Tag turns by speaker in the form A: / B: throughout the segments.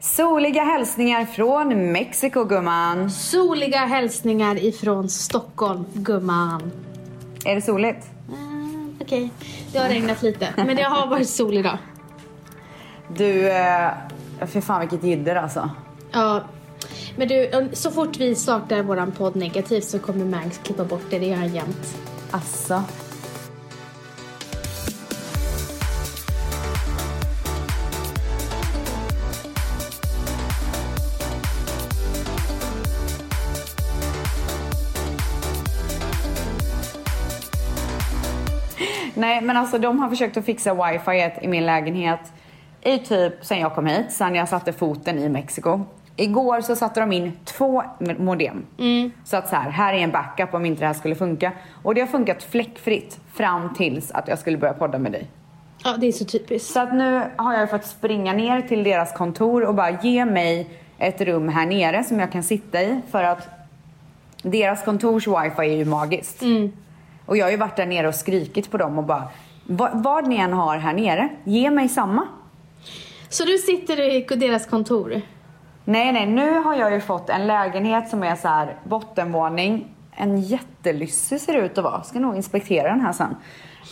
A: Soliga hälsningar från Mexiko gumman.
B: Soliga hälsningar ifrån Stockholm, gumman.
A: Är det soligt?
B: Mm, Okej, det har regnat lite, men det har varit sol idag.
A: Du, eh, fy fan vilket jidder alltså.
B: Ja. Men du, um, så fort vi startar våran podd negativt så kommer Mangs klippa bort det, det gör han jämt.
A: Asså. Nej men alltså de har försökt att fixa wifi i min lägenhet i typ sen jag kom hit, sen jag satte foten i Mexiko. Igår så satte de in två modem. Så att så här, här är en backup om inte det här skulle funka. Och det har funkat fläckfritt fram tills att jag skulle börja podda med dig.
B: Ja, det är så typiskt.
A: Så att nu har jag ju fått springa ner till deras kontor och bara ge mig ett rum här nere som jag kan sitta i för att deras kontors wifi är ju magiskt. Och jag har ju varit där nere och skrikit på dem och bara "Va- vad ni än har här nere, ge mig samma.
B: Så du sitter i deras kontor?
A: Nej, nej, nu har jag ju fått en lägenhet som är så här bottenvåning. En jättelyssig ser det ut att vara. Ska nog inspektera den här sen.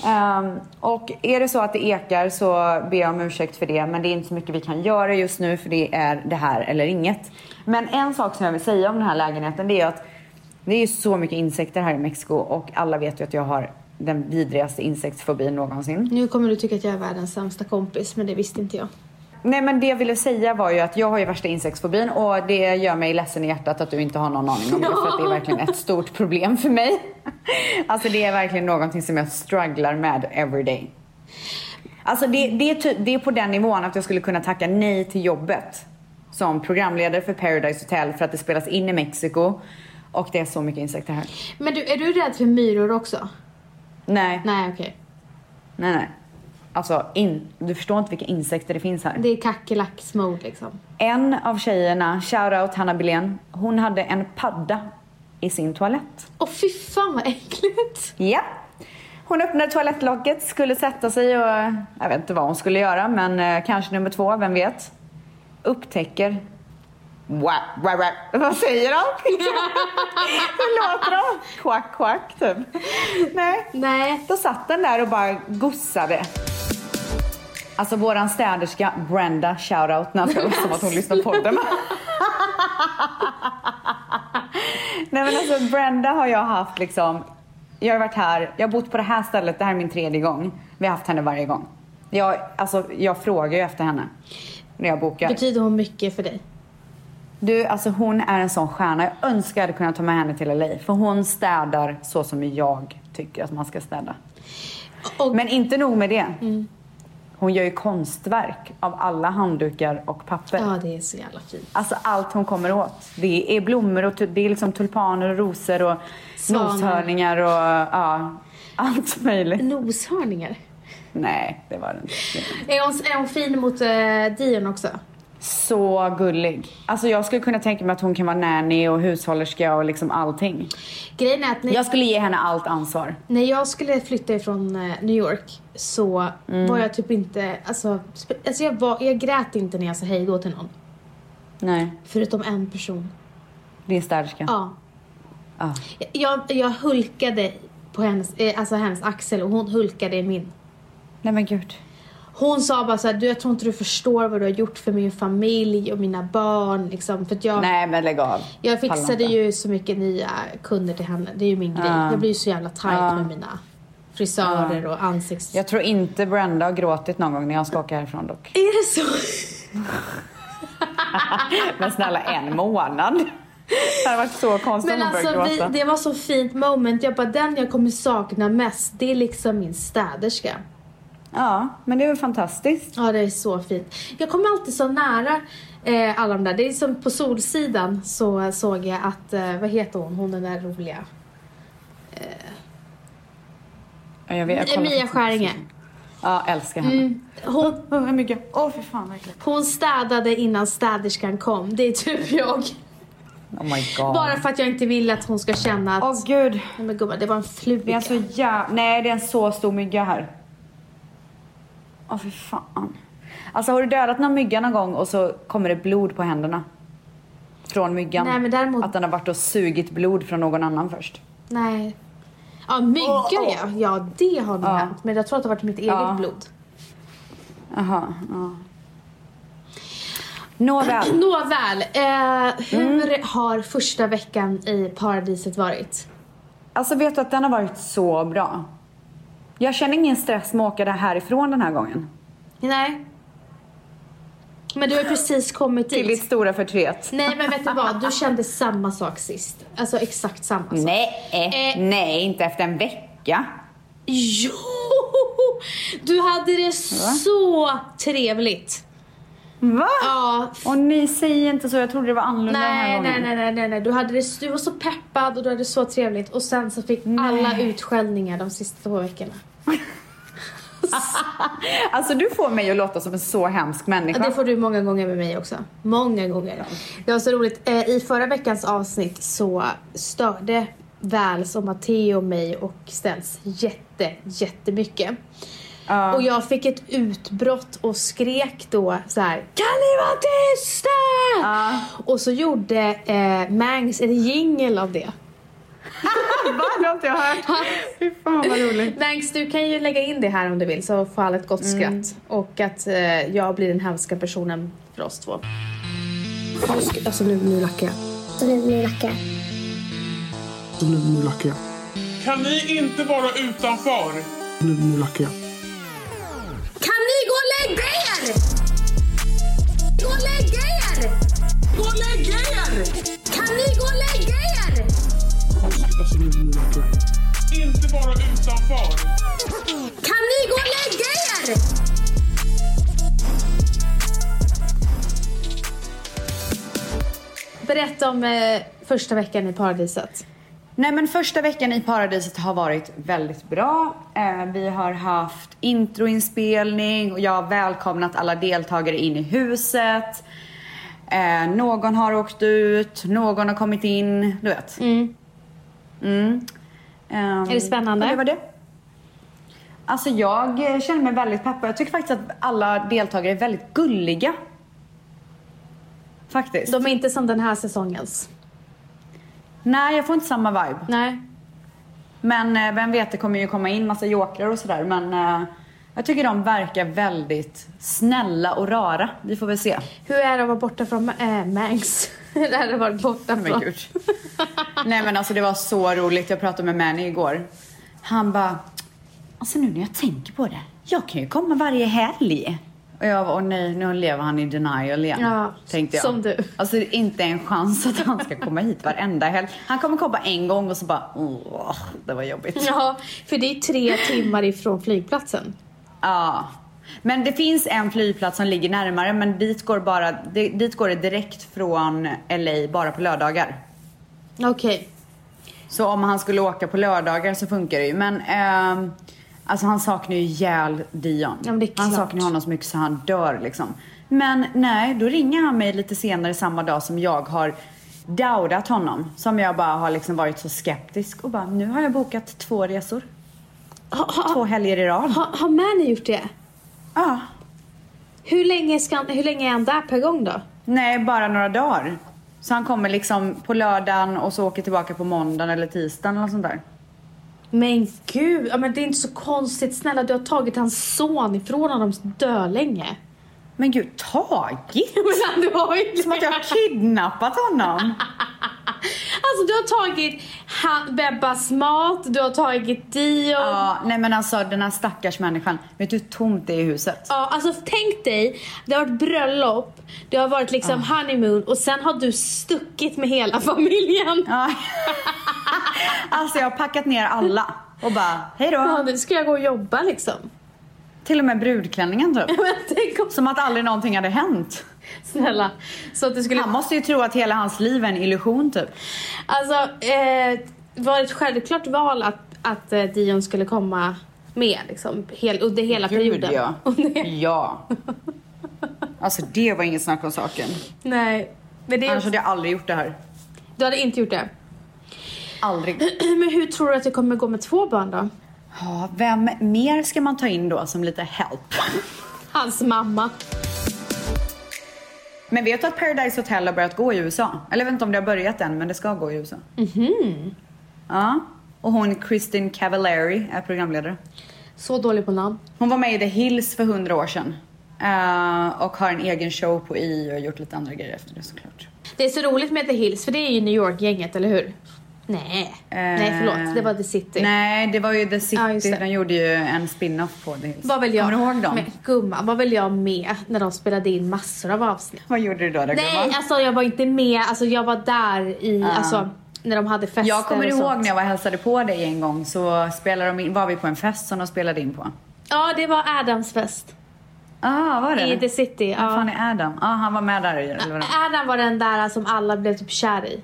A: Ehm, och är det så att det ekar så ber jag om ursäkt för det. Men det är inte så mycket vi kan göra just nu för det är det här eller inget. Men en sak som jag vill säga om den här lägenheten det är att det är ju så mycket insekter här i Mexiko och alla vet ju att jag har den vidrigaste insektsfobin någonsin.
B: Nu kommer du tycka att jag är världens sämsta kompis, men det visste inte jag.
A: Nej men det jag ville säga var ju att jag har ju värsta insektsfobin och det gör mig ledsen i hjärtat att du inte har någon aning om det för att det är verkligen ett stort problem för mig. Alltså det är verkligen någonting som jag strugglar med every day. Alltså det, det, är typ, det är på den nivån att jag skulle kunna tacka nej till jobbet som programledare för Paradise Hotel för att det spelas in i Mexiko och det är så mycket insekter här.
B: Men du, är du rädd för myror också?
A: Nej, nej,
B: Nej, okej.
A: nej. Alltså in, du förstår inte vilka insekter det finns här.
B: Det är kackerlacksmode liksom.
A: En av tjejerna, shoutout Hanna Billén, hon hade en padda i sin toalett.
B: Åh fy fan vad äckligt!
A: Ja. Hon öppnade toalettlocket, skulle sätta sig och eh, jag vet inte vad hon skulle göra men eh, kanske nummer två, vem vet? Upptäcker. Wah, wah, wah. Vad säger han? Hur låter han? Quack, quack typ. Nej.
B: Nej.
A: Då satt den där och bara gossade. Alltså våran städerska Brenda, shoutout, när jag som att hon lyssnar på podden. Nej men alltså Brenda har jag haft liksom, jag har varit här, jag har bott på det här stället, det här är min tredje gång. Vi har haft henne varje gång. Jag, alltså, jag frågar ju efter henne när jag bokar.
B: Betyder hon mycket för dig?
A: Du, alltså hon är en sån stjärna. Jag önskar jag hade kunnat ta med henne till LA. För hon städar så som jag tycker att man ska städa.
B: Och-
A: Men inte nog med det.
B: Mm.
A: Hon gör ju konstverk av alla handdukar och papper.
B: Ja, det är så jävla fint.
A: Alltså allt hon kommer åt. Det är blommor och tu- det är liksom tulpaner och rosor och
B: Svanar.
A: noshörningar och ja, allt möjligt.
B: Noshörningar.
A: Nej, det var det inte.
B: Är hon, är hon fin mot eh, Dion också?
A: Så gullig. Alltså jag skulle kunna tänka mig att hon kan vara nanny och hushållerska och liksom allting.
B: Grejen är att när,
A: Jag skulle ge henne allt ansvar.
B: när jag skulle flytta ifrån eh, New York så var jag typ inte, alltså, spe- alltså jag, var, jag grät inte när jag sa hej då till någon.
A: Nej,
B: Förutom en person.
A: det är städerskan.
B: Ja.
A: Ja.
B: Jag, jag hulkade på hennes, eh, alltså hennes axel och hon hulkade i min.
A: Nej men gud.
B: Hon sa bara såhär, du jag tror inte du förstår vad du har gjort för min familj och mina barn liksom. För att jag,
A: Nej men lägg av.
B: jag
A: Pallar
B: fixade
A: inte.
B: ju så mycket nya kunder till henne. Det är ju min grej.
A: Ja.
B: Jag blir ju så jävla tight
A: Ja.
B: med mina frisörer och ansikts...
A: Ah. Jag tror inte Brenda har gråtit någon gång när jag ska åka härifrån dock.
B: Är det så?
A: Men snälla en månad. Det hade varit så konstigt om
B: Men
A: hon
B: alltså
A: började
B: vi,
A: gråta.
B: det var så fint moment. Jag bara, den jag kommer sakna mest det är liksom min städerska.
A: Ja, men det är väl fantastiskt.
B: Ja, det är så fint. Jag kommer alltid så nära eh, alla de där. Det är som på Solsidan så såg jag att, eh, vad heter hon, hon den där roliga?
A: Ja, Jag vet, jag kollar
B: Mia
A: faktiskt
B: Skäringe.
A: inte. Ja, älskar henne.
B: Mm. Hon,
A: Åh, vad mycket. Åh, fy fan verkligen.
B: hon städade innan städerskan kom. Det är typ jag.
A: Oh my god.
B: Bara för att jag inte vill att hon ska känna att,
A: Åh gud. alltså,
B: nej men gumman det var en
A: Det är
B: fluga.
A: en så jävla... Nej, det är en så stor mygga här. Åh, fy fan. Alltså har du dödat någon mygga någon gång och så kommer det blod på händerna? Från myggan?
B: Nej, men däremot-
A: Att den har varit och sugit blod från någon annan först?
B: Nej. Ja, myggor
A: Åh, åh.
B: ja. Ja, det har nog
A: Ja.
B: hänt. Men jag tror att det har varit mitt eget
A: Ja.
B: blod.
A: Jaha, ja. Nåväl.
B: Nåväl, eh, hur
A: Mm.
B: har första veckan i paradiset varit?
A: Alltså vet du att den har varit så bra? Jag känner ingen stress med att åka där härifrån den här gången.
B: Nej. Men du har ju precis kommit
A: Till ditt
B: dit.
A: stora förtret.
B: Nej men vet du vad, du kände samma sak sist. Alltså exakt samma sak.
A: Nej,
B: Eh.
A: nej, inte efter en vecka.
B: Jo! Du hade det så trevligt.
A: Va?
B: Ja,
A: Och ni säger inte så, jag trodde det var annorlunda den här
B: Nej,
A: gången.
B: nej, nej, nej, nej, nej. Du, hade det, du var så peppad och du hade det så trevligt och sen så fick alla utskällningar de sista två veckorna.
A: Alltså du får mig att låta som en så hemsk människa.
B: Det får du många gånger med mig också. Många gånger. Det var så roligt. Eh, I förra veckans avsnitt så störde Väls och Matteo mig och Stens jätte, jättemycket.
A: Ja.
B: Och jag fick ett utbrott och skrek då så här: Kan ni vara tysta?
A: Ja.
B: Och så gjorde eh, Mangs en jingel av det.
A: Va? Det har inte jag hört. Fy fan vad roligt.
B: Thanks, du kan ju lägga in det här om du vill så får alla ett gott skratt. Och att eh, jag blir den hemska personen för oss två. Nu ska, alltså nu, nu lackar jag.
C: Nu, nu lackar jag.
D: Nu, nu lackar jag.
E: Kan ni inte vara utanför?
D: Nu, nu lackar jag.
F: Kan ni gå och lägga er? Gå och lägga er! Gå och lägga er! Kan ni gå och lägga er?
D: Alltså, nu, nu lackar jag.
E: Inte vara utanför?
F: Kan ni gå och lägga er?
B: Berätta om eh, första veckan i paradiset.
A: Nej men första veckan i paradiset har varit väldigt bra. Eh, vi har haft introinspelning och jag har välkomnat alla deltagare in i huset. Eh, någon har åkt ut, någon har kommit in, du vet. Mm. Ehm,
B: Är det spännande?
A: och Det var det. Alltså jag eh, känner mig väldigt peppad. Jag tycker faktiskt att alla deltagare är väldigt gulliga. Faktiskt.
B: De är inte som den här säsongens.
A: Nej, jag får inte samma vibe.
B: Nej.
A: Men eh, vem vet, det kommer ju komma in massa jokrar och sådär. Men eh, jag tycker de verkar väldigt snälla och rara. Vi får väl se.
B: Hur är det att vara borta från eh, Mangs? Hur är det att vara borta
A: Men
B: från...
A: gud. Nej men alltså det var så roligt. Jag pratade med Manny igår. Han bara, alltså nu när jag tänker på det. Jag kan ju komma varje helg. Och jag var, åh nej, nu lever han i denial igen.
B: Ja,
A: tänkte jag.
B: som du.
A: Alltså det är inte en chans att han ska komma hit varenda helg. Han kommer komma en gång och så bara, åh, det var jobbigt.
B: Ja, för det är tre timmar ifrån flygplatsen.
A: Ja. Men det finns en flygplats som ligger närmare men dit går, bara, di- dit går det direkt från LA bara på lördagar.
B: Okej.
A: Så om han skulle åka på lördagar så funkar det ju. Men ehm, alltså han saknar ju ihjäl Dion.
B: Ja, men det är
A: han
B: klart.
A: saknar honom så mycket så han dör liksom. Men nej, då ringer han mig lite senare samma dag som jag har doubtat honom. Som jag bara har liksom varit så skeptisk och bara nu har jag bokat två resor.
B: Ha- ha-
A: Två helger i rad.
B: ha- Har Manny gjort det?
A: Ja.
B: Hur länge, ska, han- hur länge är han där per gång då?
A: Nej, bara några dagar. Så han kommer liksom på lördagen och så åker tillbaka på måndagen eller tisdagen eller sånt där.
B: Men gud, ja, men det är inte så konstigt. Snälla, du har tagit hans son ifrån honom dölänge.
A: Men gud, tagit?
B: Men du har ju
A: Som att jag har
B: Alltså
A: kidnappat honom.
B: du har tagit han, Bebbas mat, du har tagit Dion. Ja.
A: Ja, nej men alltså den här stackars människan. Vet du hur tomt det är i huset?
B: alltså tänk dig, det har varit bröllop, det har varit liksom honeymoon och sen har du stuckit med hela familjen.
A: Ja. Alltså jag har packat ner alla och bara, hej
B: Ja,
A: då.
B: nu ska jag gå och jobba liksom.
A: Till och med brudklänningen typ.
B: Men tänk om,
A: Som att aldrig någonting hade hänt.
B: snälla. Så att du skulle
A: Han måste ju tro att hela hans liv är en illusion typ.
B: Alltså, eh, var det ett självklart val att, att eh, Dion skulle komma med liksom, hel, under hela perioden?
A: ja. Mm. Ja. Alltså det var inget snack om saken.
B: Nej, men det,
A: Annars hade jag aldrig gjort Alltså, det här.
B: du hade inte gjort det.
A: Aldrig.
B: Men hur tror du att det kommer gå med två barn då?
A: Ja, vem mer ska man ta in då som lite help?
B: Hans mamma.
A: Men vet du att Paradise Hotel har börjat gå i USA? Eller jag vet inte om det har börjat än, men det ska gå i USA. Mhm. Ja. Och hon Kristin Cavallari är programledare.
B: Så dålig på namn.
A: Hon var med i The Hills för hundra år sedan. Eh, och har en egen show på i och gjort lite andra grejer efter det såklart.
B: Det är så roligt med The Hills, för det är ju New York-gänget, eller hur? Nej. Nej, förlåt. Det var The City.
A: Eh, Nej, det var ju The City.
B: Ja, just det.
A: De gjorde ju en spin-off på The Hills.
B: Var väl jag,
A: Kommer du ihåg dem?
B: Men, gumman, var väl jag med när de spelade in massor av avsnitt?
A: Vad gjorde du då, då
B: Nej,
A: gumman?
B: alltså jag var inte med. Alltså jag var där i, alltså när de hade fester
A: Ah. Jag kommer
B: och
A: ihåg
B: sånt.
A: när jag var och hälsade på dig en gång så spelade de in, var vi på en fest som de spelade in på.
B: Ja, det var Adams fest.
A: Ah, var det?
B: I The City,
A: Vad fan
B: ja.
A: är Adam? Ah, han var med där. Eller vad det-
B: Adam var den där som alla blev typ kär i.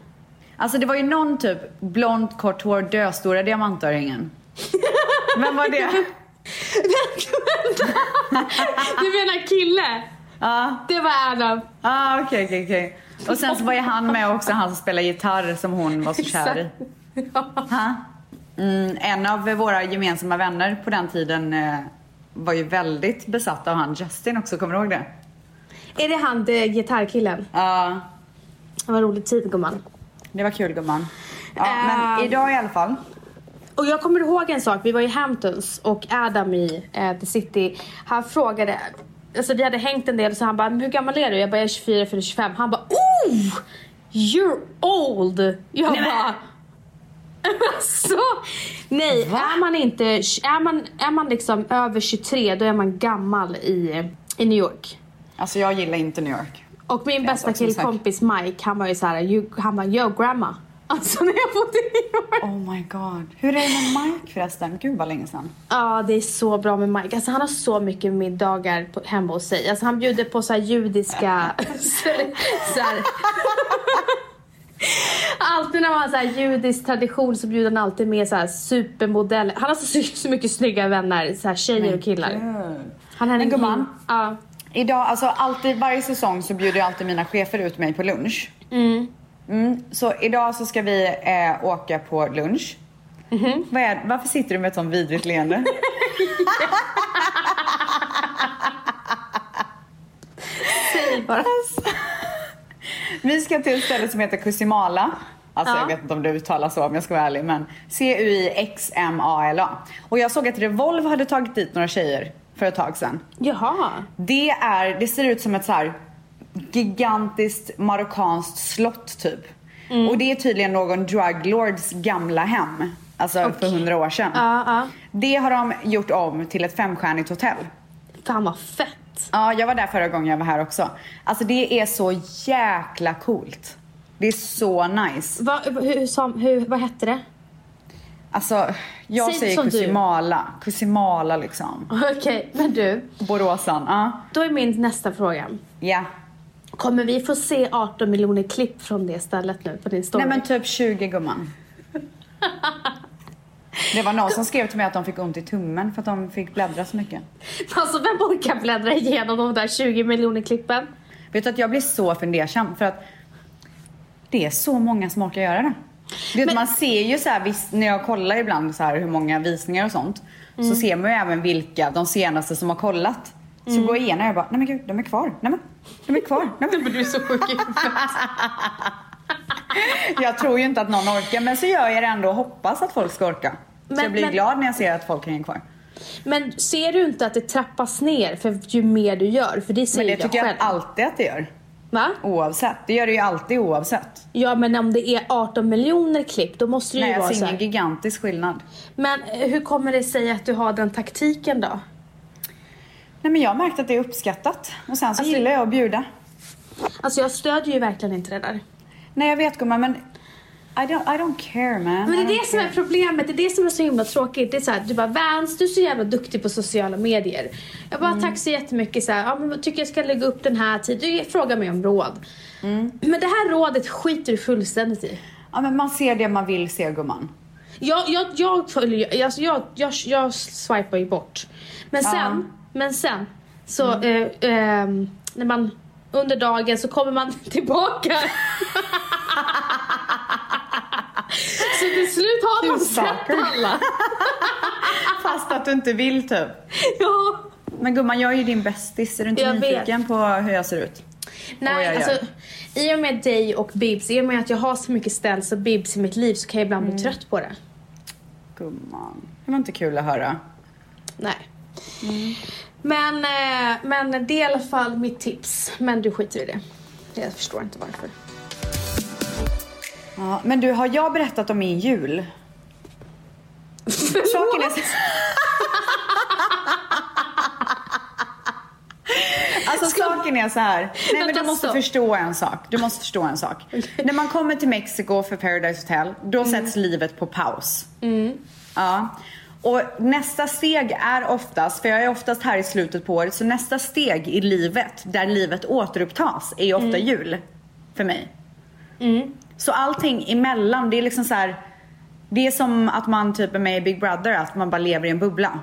A: Alltså det var ju någon typ blont, kort hår, döstora diamantöringen. Vem var det?
B: Du menar kille?
A: Ja,
B: Det var Adam.
A: ah, okej, okej, okej. Och sen så var ju han med också, han som spelar gitarr som hon var så kär i. Ha? Mm, en av våra gemensamma vänner på den tiden eh, var ju väldigt besatt av han Justin också, kommer du ihåg det?
B: Är det han det, gitarrkillen?
A: Ja,
B: Det var rolig tid gumman.
A: det var kul gumman. Ja,
B: Ehm.
A: men idag i alla fall.
B: Och jag kommer ihåg en sak, vi var i Hamptons och Adam i eh, The City, han frågade, alltså vi hade hängt en del så han bara, "Men hur gammal är du? Jag bara, jag är 24 för 25. Han bara, oh! You're old! Jag bara, alltså, nej, är man inte, är man, är man liksom över 23 då är man gammal i, i New York.
A: Alltså jag gillar inte New York.
B: Och min
A: är
B: bästa
A: också en sak.
B: killkompis Mike, han var ju såhär, "You-" han bara, yo grandma. Alltså när jag bodde i New York.
A: Oh my god. Hur är det med Mike förresten? Gud vad länge sedan.
B: Ja, det är så bra med Mike. Alltså, han har så mycket middagar på, hemma hos sig. Alltså, han bjuder på så här judiska... så så här. Alltid när man har så här judisk tradition så bjuder han alltid med så här supermodeller. Han har så, så mycket snygga vänner, så här tjejer och killar.
A: Gud.
B: Han är en
A: Men gumman.
B: him- Ja.
A: Idag, alltså alltid, varje säsong så bjuder jag alltid mina chefer ut mig på lunch. Mm, så idag så ska vi eh, åka på lunch.
B: Mhm.
A: Vad är, varför sitter du med ett sånt vidrigt leende?
B: Säg bara.
A: vi ska till ett ställe som heter Kusimala. Alltså
B: Ja.
A: jag vet inte om det uttalas så om jag ska vara ärlig men C-U-I-X-M-A-L-A. Och jag såg att Revolve hade tagit dit några tjejer för ett tag sedan.
B: Jaha.
A: Det är, det ser ut som ett så här gigantiskt marockanskt slott typ.
B: Mm.
A: Och det är tydligen någon druglords gamla hem. Alltså för hundra år sedan.
B: Ja, ja.
A: Det har de gjort om till ett femstjärnigt hotell.
B: Fan vad fett.
A: Ja, jag var där förra gången jag var här också. Alltså det är så jäkla coolt. Det är så nice.
B: Va, hur, som, hur, vad hette det?
A: Alltså, jag
B: Säg det
A: säger
B: som du.
A: Kusimala. Kusimala liksom.
B: Okej, men du.
A: Boråsan, ja.
B: Då är min nästa fråga.
A: Ja.
B: Kommer vi få se 18 miljoner klipp från det stället nu på din story?
A: Nej men typ 20 gumman. Det var någon som skrev till mig att de fick ont i tummen för att de fick bläddra så mycket.
B: Alltså vem orkar bläddra igenom de där 20 miljoner klippen?
A: Vet du att jag blir så fundersam för att det är så många som orkar göra det. Du vet,
B: Men-
A: Man ser ju så här, visst, när jag kollar ibland så här, hur många visningar och sånt så ser man ju även vilka, de senaste som har kollat. Så går jag igenom och jag bara, nej men gud, de är kvar. Nej men, de är kvar. Nej, men.
B: Du är så sjuk i
A: Jag tror ju inte att någon orkar men så gör jag det ändå och hoppas att folk ska orka. så
B: Men-
A: jag blir
B: men-
A: glad när jag ser att folk hänger kvar.
B: Men ser du inte att det trappas ner för ju mer du gör? För det
A: Men
B: säger
A: det
B: jag
A: tycker jag
B: själv.
A: alltid att det gör.
B: Va?
A: Oavsett. Det gör det ju alltid oavsett.
B: Ja men om det är 18 miljoner klipp då måste det
A: Nej,
B: ju vara
A: jag
B: så
A: ser ingen
B: här.
A: gigantisk skillnad.
B: Men eh, hur kommer det sig att du har den taktiken då?
A: Nej, men jag har märkt att det är uppskattat. Och sen så
B: Alltså-
A: gillar jag att bjuda.
B: Alltså jag stödjer ju verkligen inte det där.
A: Nej, jag vet gumman, men I don't, I don't care man.
B: Men det
A: I
B: är
A: don't
B: det som är
A: care.
B: problemet, det är det som är så himla tråkigt. Det är så här, du bara Vans, du är så jävla duktig på sociala medier. Jag bara tack så jättemycket, så här, ja, men vad tycker jag ska lägga upp den här tiden. Du frågar mig om råd. Men det här rådet skiter du fullständigt i.
A: Ja, men man ser det man vill se gumman.
B: Jag, jag, jag, följer, alltså, jag, jag, jag swipar ju bort. Men sen, men sen så eh, ehm, när man under dagen så kommer man tillbaka. så till slut har man
A: Tusen
B: sett
A: saker.
B: alla.
A: Fast att du inte vill typ.
B: Ja.
A: Men gumman, jag är ju din bästis. Är du inte
B: Jag
A: nyfiken på hur jag ser ut? Oj,
B: Nej,
A: oj, oj.
B: alltså i och med dig och Bibs, i och med att jag har så mycket ställs och Bibs i mitt liv så kan jag ibland
A: Mm.
B: bli trött på det.
A: Gumman. Det var inte kul att höra.
B: Nej.
A: Mm.
B: Men, eh, men det är i alla fall mitt tips. Men du skiter i det. Jag förstår inte varför.
A: Ja, men du, har jag berättat om min jul? Saken är så... Alltså saken är så här. Nej men
B: Vänta,
A: du måste
B: stopp.
A: förstå en sak. Du måste förstå en sak. När man kommer till Mexiko för Paradise Hotel, då
B: Mm.
A: sätts livet på paus. Ja. Och nästa steg är oftast, för jag är oftast här i slutet på året, så nästa steg i livet, där livet återupptas, är ju ofta
B: Mm.
A: jul. För mig. Så allting emellan, det är liksom så här. Det är som att man typ är med i Big Brother, att man bara lever i en bubbla.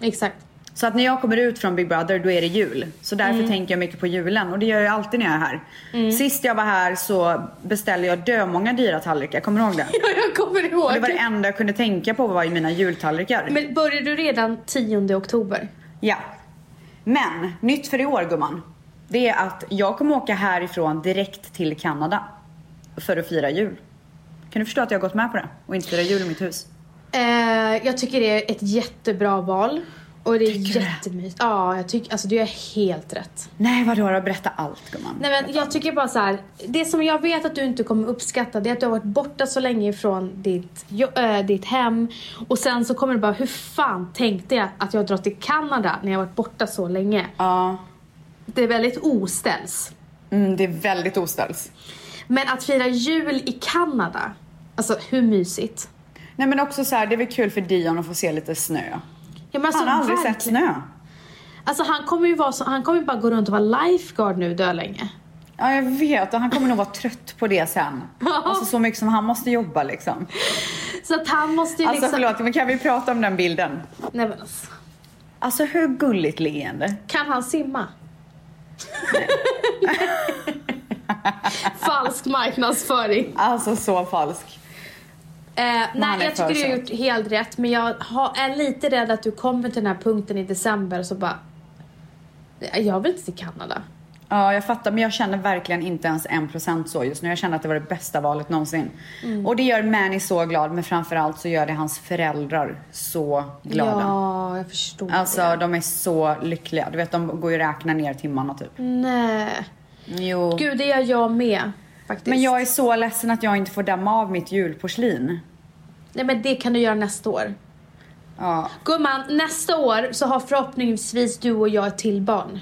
B: Exakt.
A: Så att när jag kommer ut från Big Brother då är det jul. Så därför tänker jag mycket på julen och det gör jag alltid när jag är här. Sist jag var här så beställde jag dömånga dyra tallrikar, kommer du ihåg det?
B: Ja, jag kommer ihåg.
A: Och det var det enda jag kunde tänka på var ju mina jultallrikar.
B: Men började du redan 10 oktober?
A: Ja. Men, nytt för i år gumman. Det är att jag kommer åka härifrån direkt till Kanada. För att fira jul. Kan du förstå att jag har gått med på det? Och inte fira jul i mitt hus.
B: Eh, jag tycker det är ett jättebra val. Och det är
A: Tycker du det?
B: jättemysigt. Ja, jag tycker, alltså du är helt rätt.
A: Nej vadå då, berätta allt gumman.
B: Nej men jag tycker bara så här. det som jag vet att du inte kommer uppskatta det är att du har varit borta så länge ifrån ditt, jo- äh, ditt hem och sen så kommer du bara, hur fan tänkte jag att jag drar till Kanada när jag har varit borta så länge?
A: Ja.
B: Det är väldigt oställs.
A: Mm, det är väldigt oställs.
B: Men att fira jul i Kanada, alltså hur mysigt?
A: Nej men också så här, det är väl kul för Dion att få se lite snö.
B: Ja, men alltså,
A: Han har aldrig
B: verkligen.
A: sett snö.
B: Alltså han kommer ju vara så, han kommer ju bara gå runt och vara lifeguard nu dölänge.
A: Ja jag vet och han kommer nog vara trött på det sen. Alltså så mycket som han måste jobba liksom.
B: Så att han måste ju
A: Alltså
B: liksom...
A: förlåt men kan vi prata om den bilden?
B: Nej men alltså,
A: Alltså hur gulligt leende?
B: kan han simma? Falsk marknadsföring.
A: Alltså så falsk.
B: Eh, nej,
A: är
B: jag tycker
A: för
B: du har gjort helt rätt. Men jag har, är lite rädd att du kommer till den här punkten i december och så bara... "Nej, Jag vill inte till Kanada.
A: Ja, jag fattar. Men jag känner verkligen inte ens en procent så just nu. Jag känner att det var det bästa valet någonsin.
B: Mm.
A: Och det gör Mani så glad, men framförallt så gör det hans föräldrar så glada.
B: Ja, jag förstår
A: Alltså,
B: det.
A: de är så lyckliga. Du vet, de går ju och räknar ner timmarna typ.
B: Nej.
A: Jo.
B: Gud, det gör jag med. Faktiskt.
A: Men jag är så ledsen att jag inte får damma av mitt julporslin.
B: Nej, men det kan du göra nästa år.
A: Ja.
B: Gumman, nästa år så har förhoppningsvis du och jag ett till barn.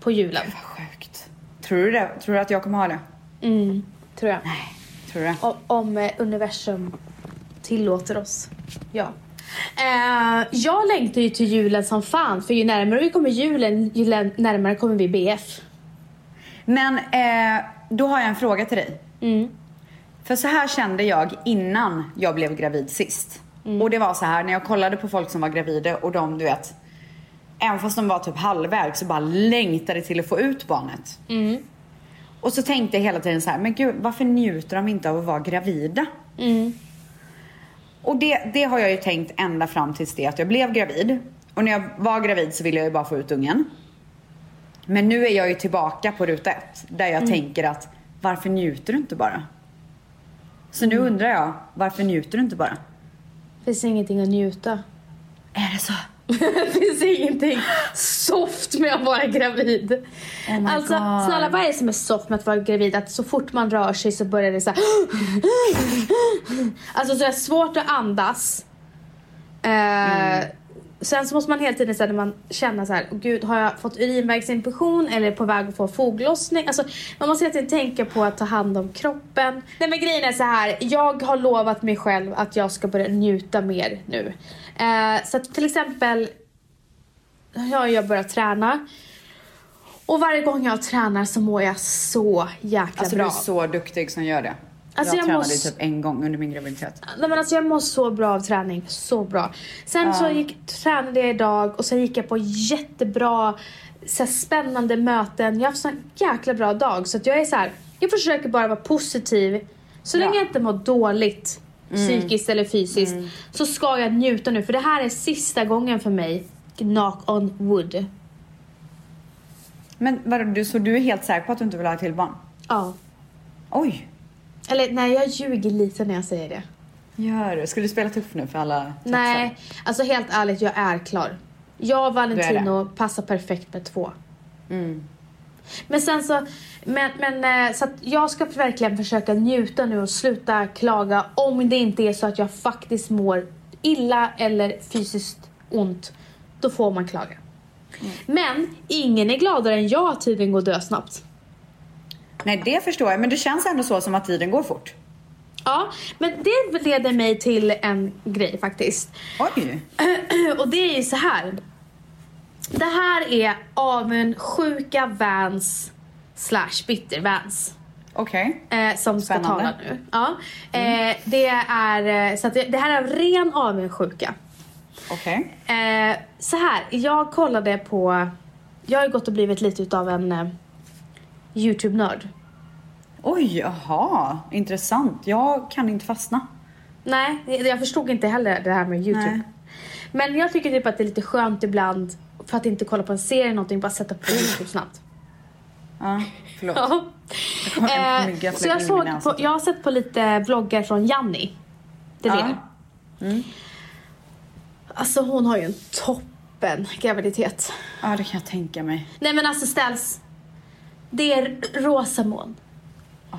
B: På julen.
A: Vad sjukt. Tror du det? Tror du att jag kommer ha det?
B: Mm, tror jag.
A: Nej. Tror du det?
B: O- om eh, universum tillåter oss. Ja. Eh, jag längtar ju till julen som fan, för ju närmare vi kommer julen, ju lä- närmare kommer vi BF.
A: Men eh, då har jag en fråga till dig. För så här kände jag innan jag blev gravid sist. Och det var så här när jag kollade på folk som var gravida och de du vet. Även fast de var typ halvvägs så bara längtade till att få ut barnet. Och så tänkte jag hela tiden så här, men gud varför njuter de inte av att vara gravida? Och det, det har jag ju tänkt ända fram tills det att jag blev gravid. Och när jag var gravid så ville jag ju bara få ut ungen. Men nu är jag ju tillbaka på ruta ett där jag
B: Mm.
A: tänker att varför njuter du inte bara? Så nu
B: Mm.
A: undrar jag, varför njuter du inte bara?
B: Finns ingenting att njuta.
A: Är det så?
B: Finns ingenting soft med att vara gravid.
A: Oh my
B: alltså,
A: God.
B: snälla vad är det som är soft med att vara gravid? Att så fort man rör sig så börjar det så här. Alltså så är det svårt att andas. Eh,
A: Mm.
B: Sen så måste man hela tiden så här, när man känner så här, "Åh, gud har jag fått urinvägsinfektion eller är på väg att få foglossning? Alltså man måste hela tiden tänka på att ta hand om kroppen. Nej men grejen är så här, jag har lovat mig själv att jag ska börja njuta mer nu. Eh, så att till exempel jag har jag börjat träna. Och varje gång jag tränar så mår jag så jäkla
A: Alltså
B: bra.
A: du är så duktig som gör det.
B: Alltså,
A: jag,
B: jag
A: tränade
B: måste-
A: ju typ en gång under min graviditet.
B: Nej, men alltså jag mår så bra av träning. Så bra. Sen så gick, tränade jag idag och sen gick jag på jättebra så här, spännande möten. Jag har haft en jäkla bra dag. Så att jag är så här, jag försöker bara vara positiv. Så
A: Ja.
B: länge jag inte mår dåligt psykiskt eller fysiskt så ska jag njuta nu. För det här är sista gången för mig knock on wood.
A: Men vadå, du, så du är helt säker på att du inte vill ha ett till barn?
B: Ja.
A: Oj!
B: Eller nej, jag ljuger lite när jag säger det.
A: Gör du? Skulle du spela tuff nu för alla tafsar?
B: Nej, alltså helt ärligt, jag är klar. Jag och Valentino passar perfekt med två. Men sen så, men, men eh, så att jag ska verkligen försöka njuta nu och sluta klaga om det inte är så att jag faktiskt mår illa eller fysiskt ont. Då får man klaga. Men ingen är gladare än jag att tiden går dö snabbt.
A: Nej, det förstår jag. Men det känns ändå så som att tiden går fort.
B: Ja, men det leder mig till en grej faktiskt.
A: Oj!
B: Och det är ju så här. Det här är avundsjuka Vans slash bitter Vans.
A: Okej.
B: Eh, som ska
A: Spännande. Mm.
B: tala nu. Ja. Eh, det är, eh, så att det, det här är ren avundsjuka.
A: Okej.
B: Eh, så här, jag kollade på... Jag har ju gått och blivit lite utav en eh, Youtube-nörd.
A: Oj, jaha. Intressant. Jag kan inte fastna.
B: Nej, jag förstod inte heller det här med Youtube.
A: Nej.
B: Men jag tycker typ att det är lite skönt ibland för att inte kolla på en serie eller någonting, bara sätta på Youtube snabbt.
A: Ja, förlåt.
B: Ja.
A: kommer en
B: Eh,
A: mygga
B: så
A: flög
B: jag,
A: in i
B: såg
A: mina
B: på,
A: ansikten.
B: jag har sett på lite vloggar från Janni. Det är
A: Ja.
B: det. Alltså hon har ju en toppen graviditet.
A: Ja, det kan jag tänka mig.
B: Nej men alltså ställs. Det är rosa moln.
A: Ah.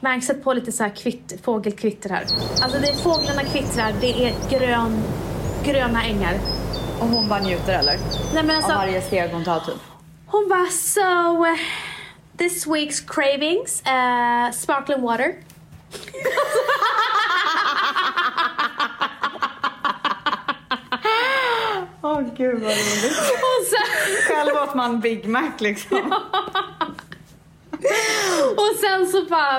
B: Märk sätt på lite så här kvitt, fågelkvitter här. Alltså det är fåglarna kvittrar, det är grön, gröna ängar.
A: Och hon bara njuter eller?
B: Nej men alltså.
A: Av varje steg hon tar typ.
B: Hon bara so eh, this week's cravings eh, sparkling water.
A: Åh gud vad roligt.
B: Och sen,
A: Själv åt man Big Mac liksom.
B: och sen så bara...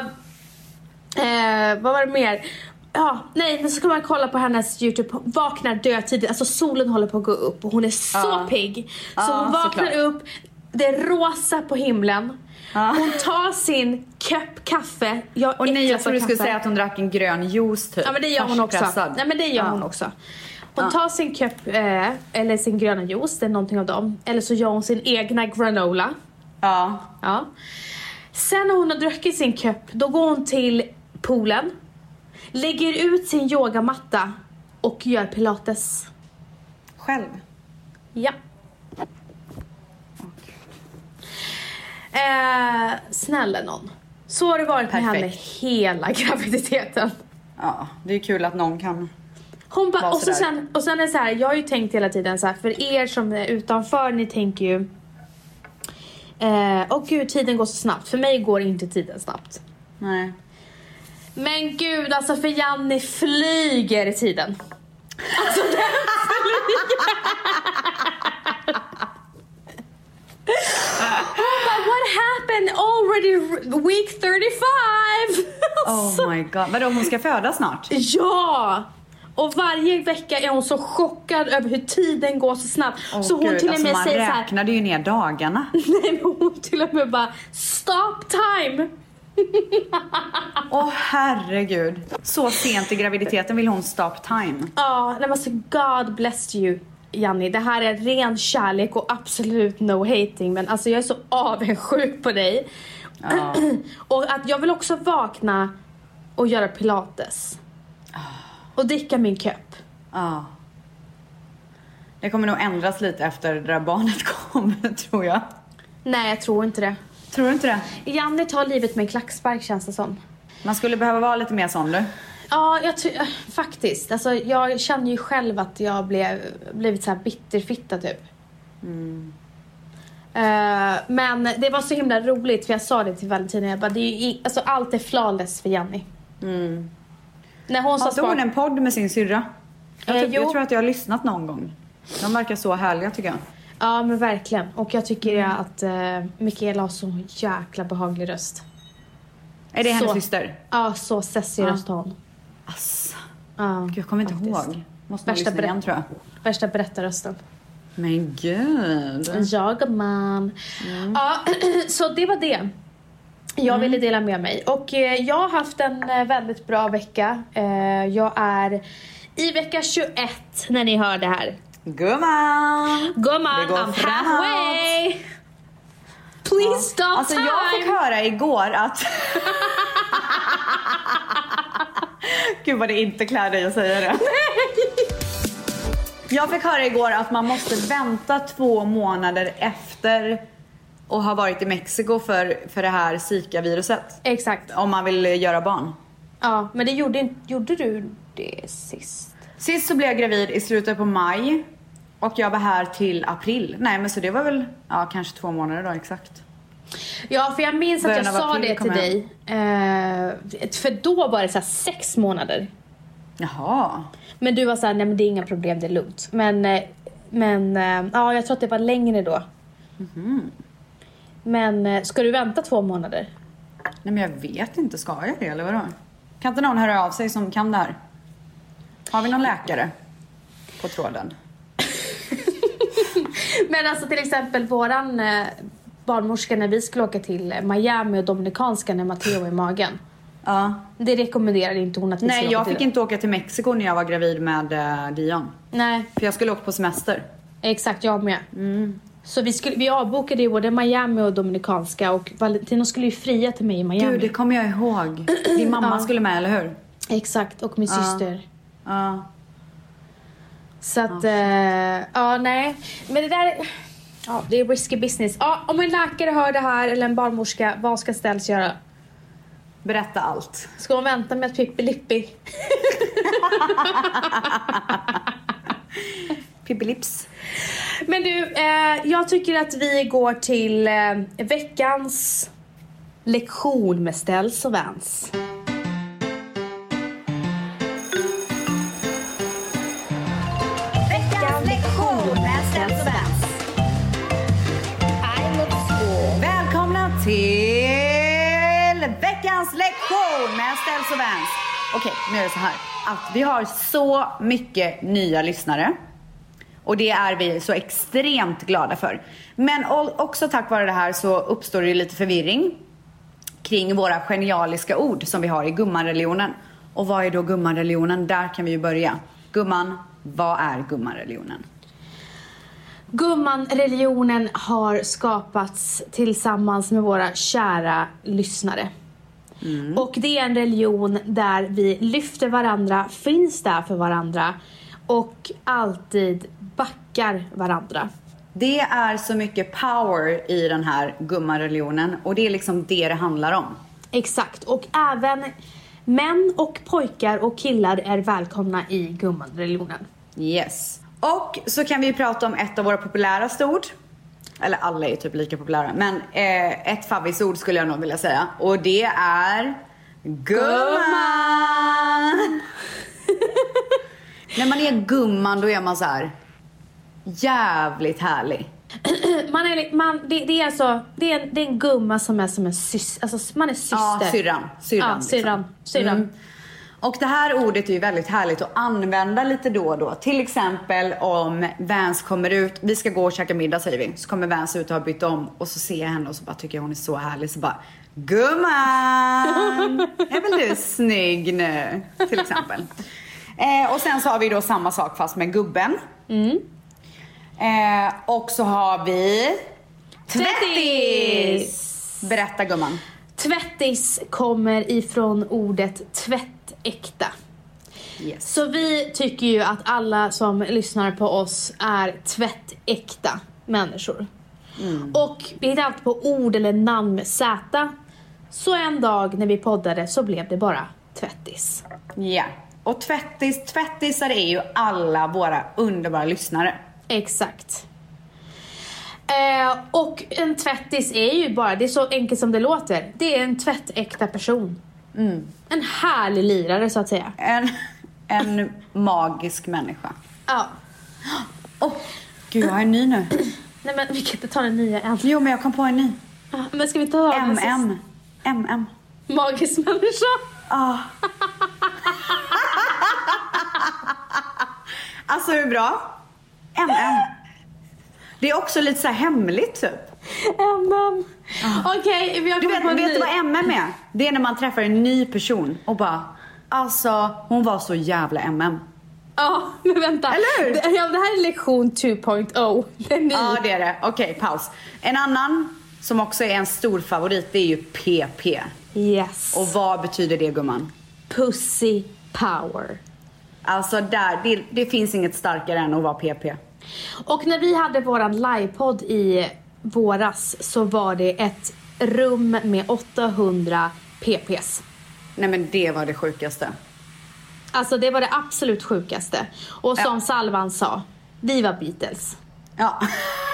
B: Eh, vad var det mer? Ja, nej, men så kan man kolla på hennes Youtube. Hon Vaknar dödtidigt, alltså solen håller på att gå upp och hon är så
A: Ja.
B: pigg. Så
A: Ja,
B: hon vaknar
A: såklart.
B: upp, det är rosa på himlen.
A: Ja.
B: Hon tar sin kopp kaffe. Jag
A: Och nej, jag
B: äcklas av
A: trodde du skulle
B: kaffe.
A: säga att hon drack en grön juice typ.
B: Ja men det gör hon också.
A: Färskpressad.
B: Nej men det gör
A: Ja.
B: hon också. Hon tar sin kopp, eh, eller sin gröna juice, det är någonting av dem. Eller så gör hon sin egna granola.
A: Ja.
B: Ja. Sen när hon har druckit sin kopp, då går hon till poolen, lägger ut sin yogamatta och gör pilates.
A: Själv.
B: Ja. Eh, snälla någon. Så har det varit med henne
A: Perfekt.
B: hela graviditeten.
A: Ja, det är kul att någon kan.
B: Hon bara,
A: Var
B: och, så
A: sådär.
B: sen, och sen är det så här, jag har ju tänkt hela tiden så här, för er som är utanför, ni tänker ju eh, Åh gud, tiden går så snabbt. För mig går inte tiden snabbt.
A: Nej.
B: Men gud, alltså för Janni flyger tiden. Alltså den flyger! Hon bara, what happened already week 35? Alltså.
A: Oh my god. Vadå, hon ska föda snart?
B: Ja! Och varje vecka är hon så chockad över hur tiden går så snabbt.
A: Åh,
B: så hon
A: gud,
B: till och
A: alltså,
B: med
A: man
B: säger så här,
A: räknade ju ner dagarna.
B: nej men hon till och med bara stop time!
A: Åh herregud. Så sent i graviditeten vill hon stop time.
B: Ja, nej men alltså God bless you Janni. Det här är ren kärlek och absolut no hating men alltså jag är så avundsjuk på dig.
A: Ja.
B: och att jag vill också vakna och göra pilates. Och dricka min kopp.
A: Ja. Det kommer nog ändras lite efter det där barnet kommer tror jag.
B: Nej, jag tror inte det.
A: Tror du inte det?
B: Janni tar livet med en klackspark känns det som.
A: Man skulle behöva vara lite mer sån du.
B: Ja, jag ty- äh, faktiskt. Alltså, jag känner ju själv att jag blev, blivit så här bitterfitta typ.
A: Mm.
B: Eh, men det var så himla roligt för jag sa det till Valentina. Jag bara, det är ju i- alltså, allt är flawless för Jenny.
A: Mm.
B: När hon sa
A: Har inte hon
B: spark-
A: en podd med sin syrra? Jag,
B: Eh,
A: typ, jag
B: jo.
A: tror att jag har lyssnat någon gång. De verkar så härliga tycker jag.
B: Ja men verkligen. Och jag tycker
A: Mm.
B: att eh, Mikaela har så jäkla behaglig röst.
A: Är det hennes
B: Så.
A: syster?
B: Ja, så sessig röst har hon.
A: Asså,
B: Ja,
A: gud, jag kommer inte
B: faktiskt.
A: ihåg. Måste nog
B: Värsta
A: lyssna igen
B: berätt-
A: tror jag.
B: Värsta berättarrösten.
A: Men gud.
B: Jag man.
A: Mm.
B: Ja, så det var det. Jag ville dela med mig. Och eh, jag har haft en eh, väldigt bra vecka. Eh, jag är i vecka 21 när ni hör det här.
A: Gumman!
B: Gumman,
A: Det går
B: I'm
A: framåt.
B: halfway! Please stop
A: Alltså
B: time!
A: jag fick höra igår att... Gud vad det inte klär dig att säga det. Jag fick höra igår att man måste vänta två månader efter och ha varit i Mexiko för, för det här Zika-viruset.
B: Exakt.
A: Om man vill eh, göra barn.
B: Ja, men det gjorde, inte- gjorde du det sist?
A: Sist så blev jag gravid i slutet på maj och jag var här till april. Nej men så det var väl, ja kanske två månader då exakt.
B: Ja, för jag minns att
A: Början
B: jag
A: av
B: sa
A: april
B: det till
A: kommer
B: dig. Eh, för då var det så här sex månader.
A: Jaha.
B: Men du var så här, nej men det är inga problem, det är lugnt. Men, eh, men eh, ja, jag tror att det var längre då. Mhm. Men eh, ska du vänta två månader?
A: Nej men jag vet inte, ska jag det eller vadå? Kan inte någon höra av sig som kan det här? Har vi någon läkare på tråden?
B: Men alltså till exempel våran eh, barnmorska när vi skulle åka till Miami och Dominikanska när Matteo är i magen.
A: Ja.
B: Det rekommenderar inte hon att vi
A: Nej
B: skulle
A: jag
B: åka till.
A: fick inte åka till Mexiko när jag var gravid med eh, Dion.
B: Nej,
A: För jag skulle åka på semester.
B: exakt jag med. Så vi, skulle, vi avbokade ju både Miami och Dominikanska och Valentino skulle ju fria till mig i Miami.
A: Gud det kommer jag ihåg. Din mamma skulle med eller hur?
B: Exakt, och min syster.
A: Ja.
B: Så att, eh, ja nej. Men det där, är- ja det är risky business. Ja, om en läkare hör det här eller en barnmorska, vad ska Ställs göra?
A: Berätta allt.
B: Ska hon vänta med att Pippi Lippi?
A: Pippilips.
B: Men du, eh, jag tycker att vi går till eh, veckans lektion med Ställs och Vans.
C: Veckans lektion med Stens och Bens.
A: Välkomna till veckans lektion med Ställs och Vans. Okej, nu är det så här att vi har så mycket nya lyssnare. Och det är vi så extremt glada för. Men o- också tack vare det här så uppstår det ju lite förvirring kring våra genialiska ord som vi har i gummanreligionen. Och vad är då gummanreligionen? Där kan vi ju börja. Gumman, vad är gummanreligionen?
B: Gumman-religionen har skapats tillsammans med våra kära lyssnare.
A: Mm.
B: Och det är en religion där vi lyfter varandra, finns där för varandra och alltid backar varandra.
A: Det är så mycket power i den här gummareligionen och det är liksom det det handlar om.
B: Exakt, och även män och pojkar och killar är välkomna i gumman-religionen.
A: Yes. Och så kan vi prata om ett av våra populäraste ord. Eller alla är typ lika populära, men eh, ett favvisord skulle jag nog vilja säga. Och det är gumman! När man är gumman då är man så här jävligt härlig.
B: Man är, man, det, det är alltså, det är, en- det är en gumma som är som en syster, alltså man är syster.
A: Ja, syrran. Syrran.
B: Ja, syrran. syrran.
A: Mm. Och det här ordet är ju väldigt härligt att använda lite då och då. Till exempel om Vans kommer ut, vi ska gå och käka middag säger vi. Så kommer Vans ut och har bytt om och så ser jag henne och så bara tycker jag hon är så härlig så bara Gumman! Är väl du snygg nu? Till exempel. Eh, och sen så har vi då samma sak fast med gubben.
B: Mm.
A: Eh, och så har vi
B: Tvättis!
A: Berätta gumman.
B: Tvättis kommer ifrån ordet tvättäkta.
A: Yes.
B: Så vi tycker ju att alla som lyssnar på oss är tvättäkta människor. Och vi hittar alltid på ord eller namn med Z. Så en dag när vi poddade så blev det bara tvättis.
A: Ja. Och tvättis, tvättisar är ju alla våra underbara lyssnare.
B: Exakt. Eh, och en tvättis är ju bara, det är så enkelt som det låter, det är en tvättäkta person. En härlig lirare så att säga.
A: En, en magisk människa.
B: Ja.
A: Åh, gud jag har en ny nu.
B: Nej men vi kan inte ta den nya än.
A: Jo men jag kom på en ny.
B: Ja, Men ska vi ta den sista?
A: MM. MM.
B: Magisk människa.
A: Ah. alltså hur bra? MM. Det är också lite så här hemligt typ.
B: MM. Okej, vi har
A: Ah. Du
B: kommit
A: vet,
B: på en
A: vet du
B: ny.
A: vad MM är? Det är när man träffar en ny person och bara Alltså hon var så jävla MM.
B: Ja, Ja, men vänta.
A: Eller hur? Ah,
B: Det, ja, det här är lektion 2.0. Det är ny.
A: Ja, det är det. Okej, paus. En annan som också är en stor favorit, det är ju PP.
B: Yes.
A: Och vad betyder det gumman?
B: pussy power.
A: Alltså där, det, det finns inget starkare än att vara PP.
B: Och när vi hade våran livepodd i våras så var det ett rum med 800 PPs.
A: Nej men det var det sjukaste.
B: Alltså det var det absolut sjukaste. Och som Salvan sa, vi var Beatles.
A: Ja.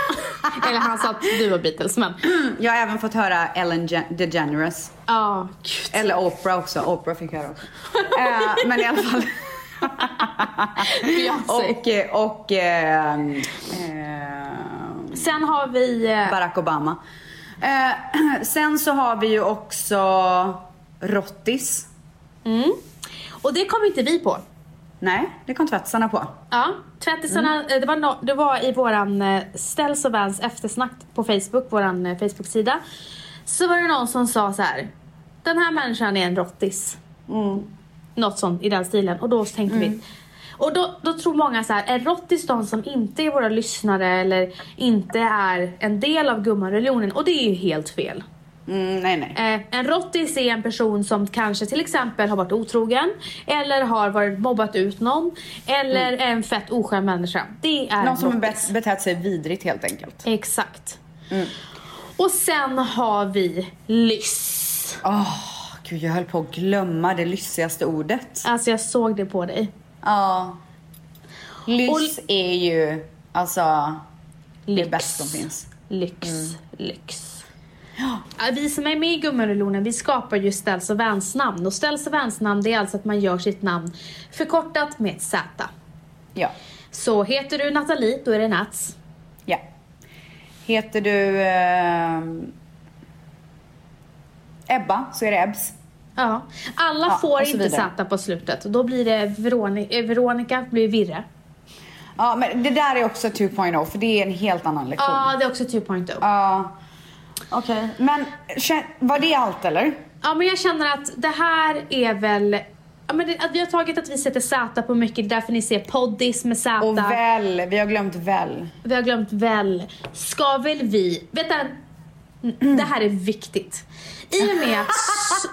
B: Eller han sa att du var Beatles men
A: Jag har även fått höra Ellen Gen- DeGeneres.
B: ja, gud.
A: Eller Oprah också. Oprah fick jag höra också. Eh, men i alla fall.
B: Beyoncé.
A: och eh, och ehm, eh,
B: Sen har vi eh,
A: Barack Obama. Eh, sen så har vi ju också Rottis.
B: Mm. Och det kom inte vi på.
A: Nej, det kom tvättisarna på.
B: Ja, tvättisarna, eh, det, var no, det var i våran eh, Ställs och Vans eftersnack på Facebook, våran eh, Facebook-sida. Så var det någon som sa så här. Den här människan är en rottis. Något sånt i den stilen. Och då tänkte vi. Och då, då tror många så här, är rottis de som inte är våra lyssnare eller inte är en del av gummareligionen? Och det är ju helt fel.
A: Mm, nej, nej.
B: Eh, en rottis är en person som kanske till exempel har varit otrogen eller har varit mobbat ut någon eller är en fett oskön människa. Det är
A: Mm. Någon som
B: en
A: har
B: rottis.
A: bet- betett sig vidrigt helt enkelt.
B: Exakt.
A: Mm.
B: Och sen har vi lyss.
A: Åh, gud jag höll på att glömma det lyssigaste ordet.
B: Alltså jag såg det på dig.
A: Ja. Lyss är ju alltså
B: Lyx.
A: det bästa som finns. Mm.
B: Lyx. Lyx. Ja, Vi som är med i Gummirullonen, vi skapar ju Ställs och Vans namn. Och Ställs och Vans namn, det är alltså att man gör sitt namn förkortat med ett Z.
A: Ja.
B: Så heter du Nathalie, då är det Nats.
A: ja. Heter du ehm, Ebba så är det Ebbs.
B: Ja, alla
A: Ja,
B: får
A: och så
B: inte
A: vidare.
B: sätta på slutet. Då blir det Veronica, eh, Veronica blir Virre.
A: Ja men det där är också 2.0 för det är en helt annan lektion.
B: Ja, det är också 2.0.
A: Ja. Okej. Men kä- var det allt eller?
B: Ja, men jag känner att det här är väl... Ja, men det, att vi har tagit att vi sätter Z på mycket, det är därför ni ser poddis med Z.
A: Och väl, vi har glömt väl.
B: Vi har glömt väl. Ska väl vi... Vänta. Det här är viktigt. I och med att så,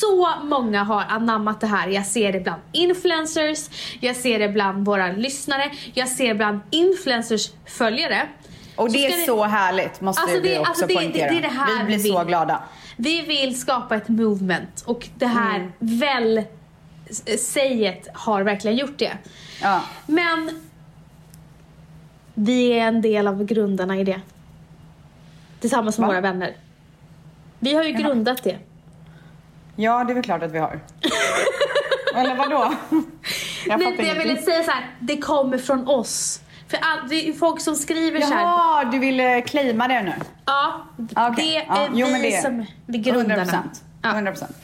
B: så många har anammat det här. Jag ser det bland influencers, jag ser det bland våra lyssnare, jag ser bland influencers följare.
A: Och det
B: ska
A: är
B: ni-
A: så härligt måste
B: Alltså,
A: vi
B: det-
A: också
B: alltså, det- det-
A: poängtera.
B: det är det här
A: vi blir
B: vi
A: så
B: vill.
A: glada.
B: Vi vill skapa ett movement och det här väl säget har verkligen gjort det.
A: Ja.
B: Men vi är en del av grundarna i det. Tillsammans med
A: Va?
B: våra vänner. Vi har ju grundat det.
A: Ja, det är väl klart att vi har. Eller vadå? Jag fattar
B: Nej, det jag
A: ingenting.
B: ville säga så här, det kommer från oss. För all, det är ju folk som skriver så här.
A: Jaha, du ville claima det nu?
B: Ja, d-
A: Okej,
B: det är
A: ja, jo, men
B: vi
A: det-
B: som vi
A: 100
B: grundarna.
A: procent.
B: Ja. Mm.
A: 100 procent.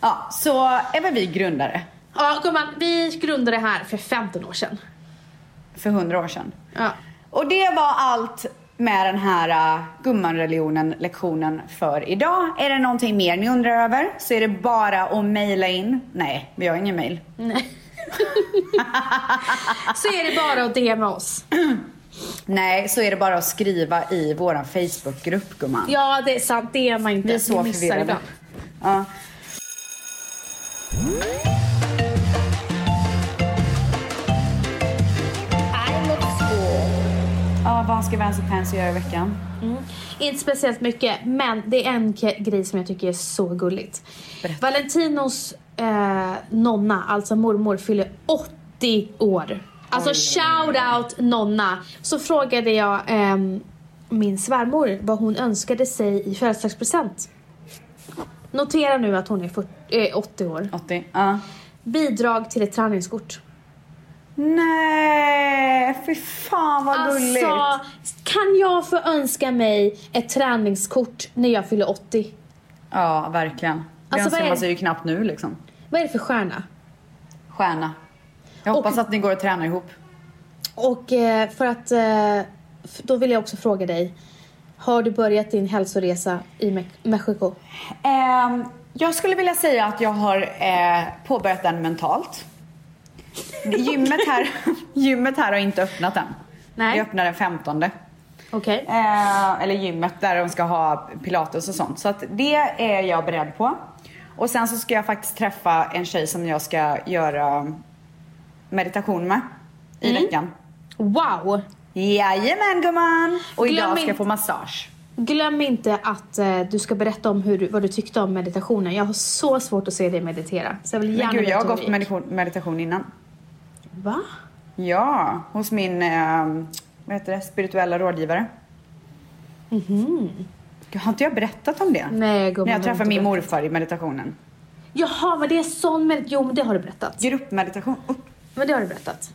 A: Ja, så är väl vi grundare
B: Ja, gumman, vi grundade det här för 15 år sedan.
A: för 100 år sedan.
B: Ja.
A: Och det var allt med den här uh, gummanreligionen lektionen för idag. Är det någonting mer ni undrar över så är det bara att mejla in. Nej, vi har ingen mejl.
B: Så är det bara att DMa oss.
A: Nej, så är det bara att skriva i våran Facebookgrupp gumman.
B: Ja, det är sant. DMa inte.
A: Vi är så
B: missar
A: förvirrade.
B: ibland.
A: Ja.
C: I'm at school.
A: Ja, vad ska Vans och Pansy göra i veckan?
B: Inte speciellt mycket, men det är en ke- grej som jag tycker är så gulligt. Valentinos eh, nonna, alltså mormor, fyller 80 år. Alltså shout out nonna! Så frågade jag ehm, min svärmor vad hon önskade sig i födelsedagspresent. Notera nu att hon är 40, eh, 80 år.
A: 80? Ja.
B: Bidrag till ett träningskort.
A: Nej, fy fan vad gulligt.
B: Alltså, kan jag få önska mig ett träningskort när jag fyller 80?
A: Ja, verkligen. Det
B: Alltså, vad
A: önskar
B: är det?
A: man sig ju knappt nu liksom.
B: Vad är det för stjärna?
A: Stjärna. Jag hoppas att ni går och tränar ihop.
B: Och eh, för att... eh, f- Då vill jag också fråga dig. Har du börjat din hälsoresa i Me- Mexiko?
A: Ehm, jag skulle vilja säga att jag har eh, påbörjat den mentalt. Gymmet här, gymmet här har inte öppnat än.
B: Nej.
A: Vi öppnar den 15.
B: Okej.
A: Eh, eller gymmet där de ska ha pilates och sånt. Så att det är jag beredd på. Och sen så ska jag faktiskt träffa en tjej som jag ska göra meditation med i
B: Mm.
A: veckan.
B: Wow!
A: Jajamän gumman! Och
B: Glöm
A: idag ska
B: inte-
A: jag få massage.
B: Glöm inte att eh, du ska berätta om hur, du- vad du tyckte om meditationen. Jag har så svårt att se dig meditera. Så jag vill gärna
A: Men gud,
B: veta
A: jag har
B: hur
A: gått
B: det
A: på meditation, meditation innan.
B: gick. Va?
A: Ja, hos min eh, vad heter det? spirituella rådgivare. Gud, har inte jag berättat om det?
B: Mhm. Nej,
A: När
B: gumman, det har
A: jag träffade
B: inte
A: min
B: berättat.
A: morfar i meditationen.
B: Jaha, men det är sån med... Jo, men det har du berättat.
A: Gruppmeditation. Oh.
B: Men det har du berättat.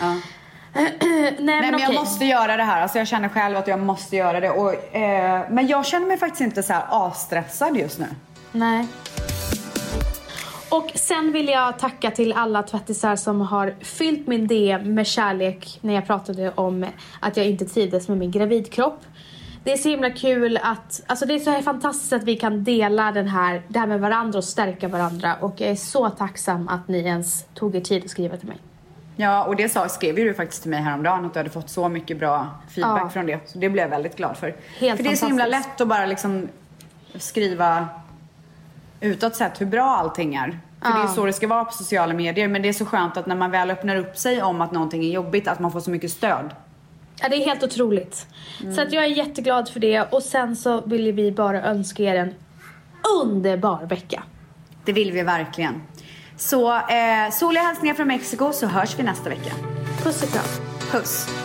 B: Eh,
A: Ja.
B: Nej,
A: Nej
B: men,
A: men jag
B: okej.
A: måste göra det här. Alltså, jag känner själv att jag måste göra det. Och, eh, men jag känner mig faktiskt inte så här avstressad just nu.
B: Nej. Och sen vill jag tacka till alla tvättisar som har fyllt min DM med kärlek när jag pratade om att jag inte trivdes med min gravidkropp. Det är så himla kul att, alltså det är så här fantastiskt att vi kan dela den här, det här med varandra och stärka varandra och jag är så tacksam att ni ens tog er tid att skriva till mig.
A: Ja och det sa, skrev ju du faktiskt till mig häromdagen att du hade fått så mycket bra feedback
B: Ja.
A: från det. Så det blev jag väldigt glad för.
B: Helt
A: för det är så himla
B: fantastiskt.
A: lätt att bara liksom skriva utåt sett hur bra allting är. För det är
B: Ja.
A: så det ska vara på sociala medier. Men det är så skönt att när man väl öppnar upp sig om att någonting är jobbigt att man får så mycket stöd.
B: Ja, det är helt otroligt. Så att jag är jätteglad för det och sen så vill vi bara önska er en underbar vecka.
A: Det vill vi verkligen. Så eh, soliga hälsningar från Mexiko så hörs vi nästa vecka.
B: Puss och kram.
A: Puss!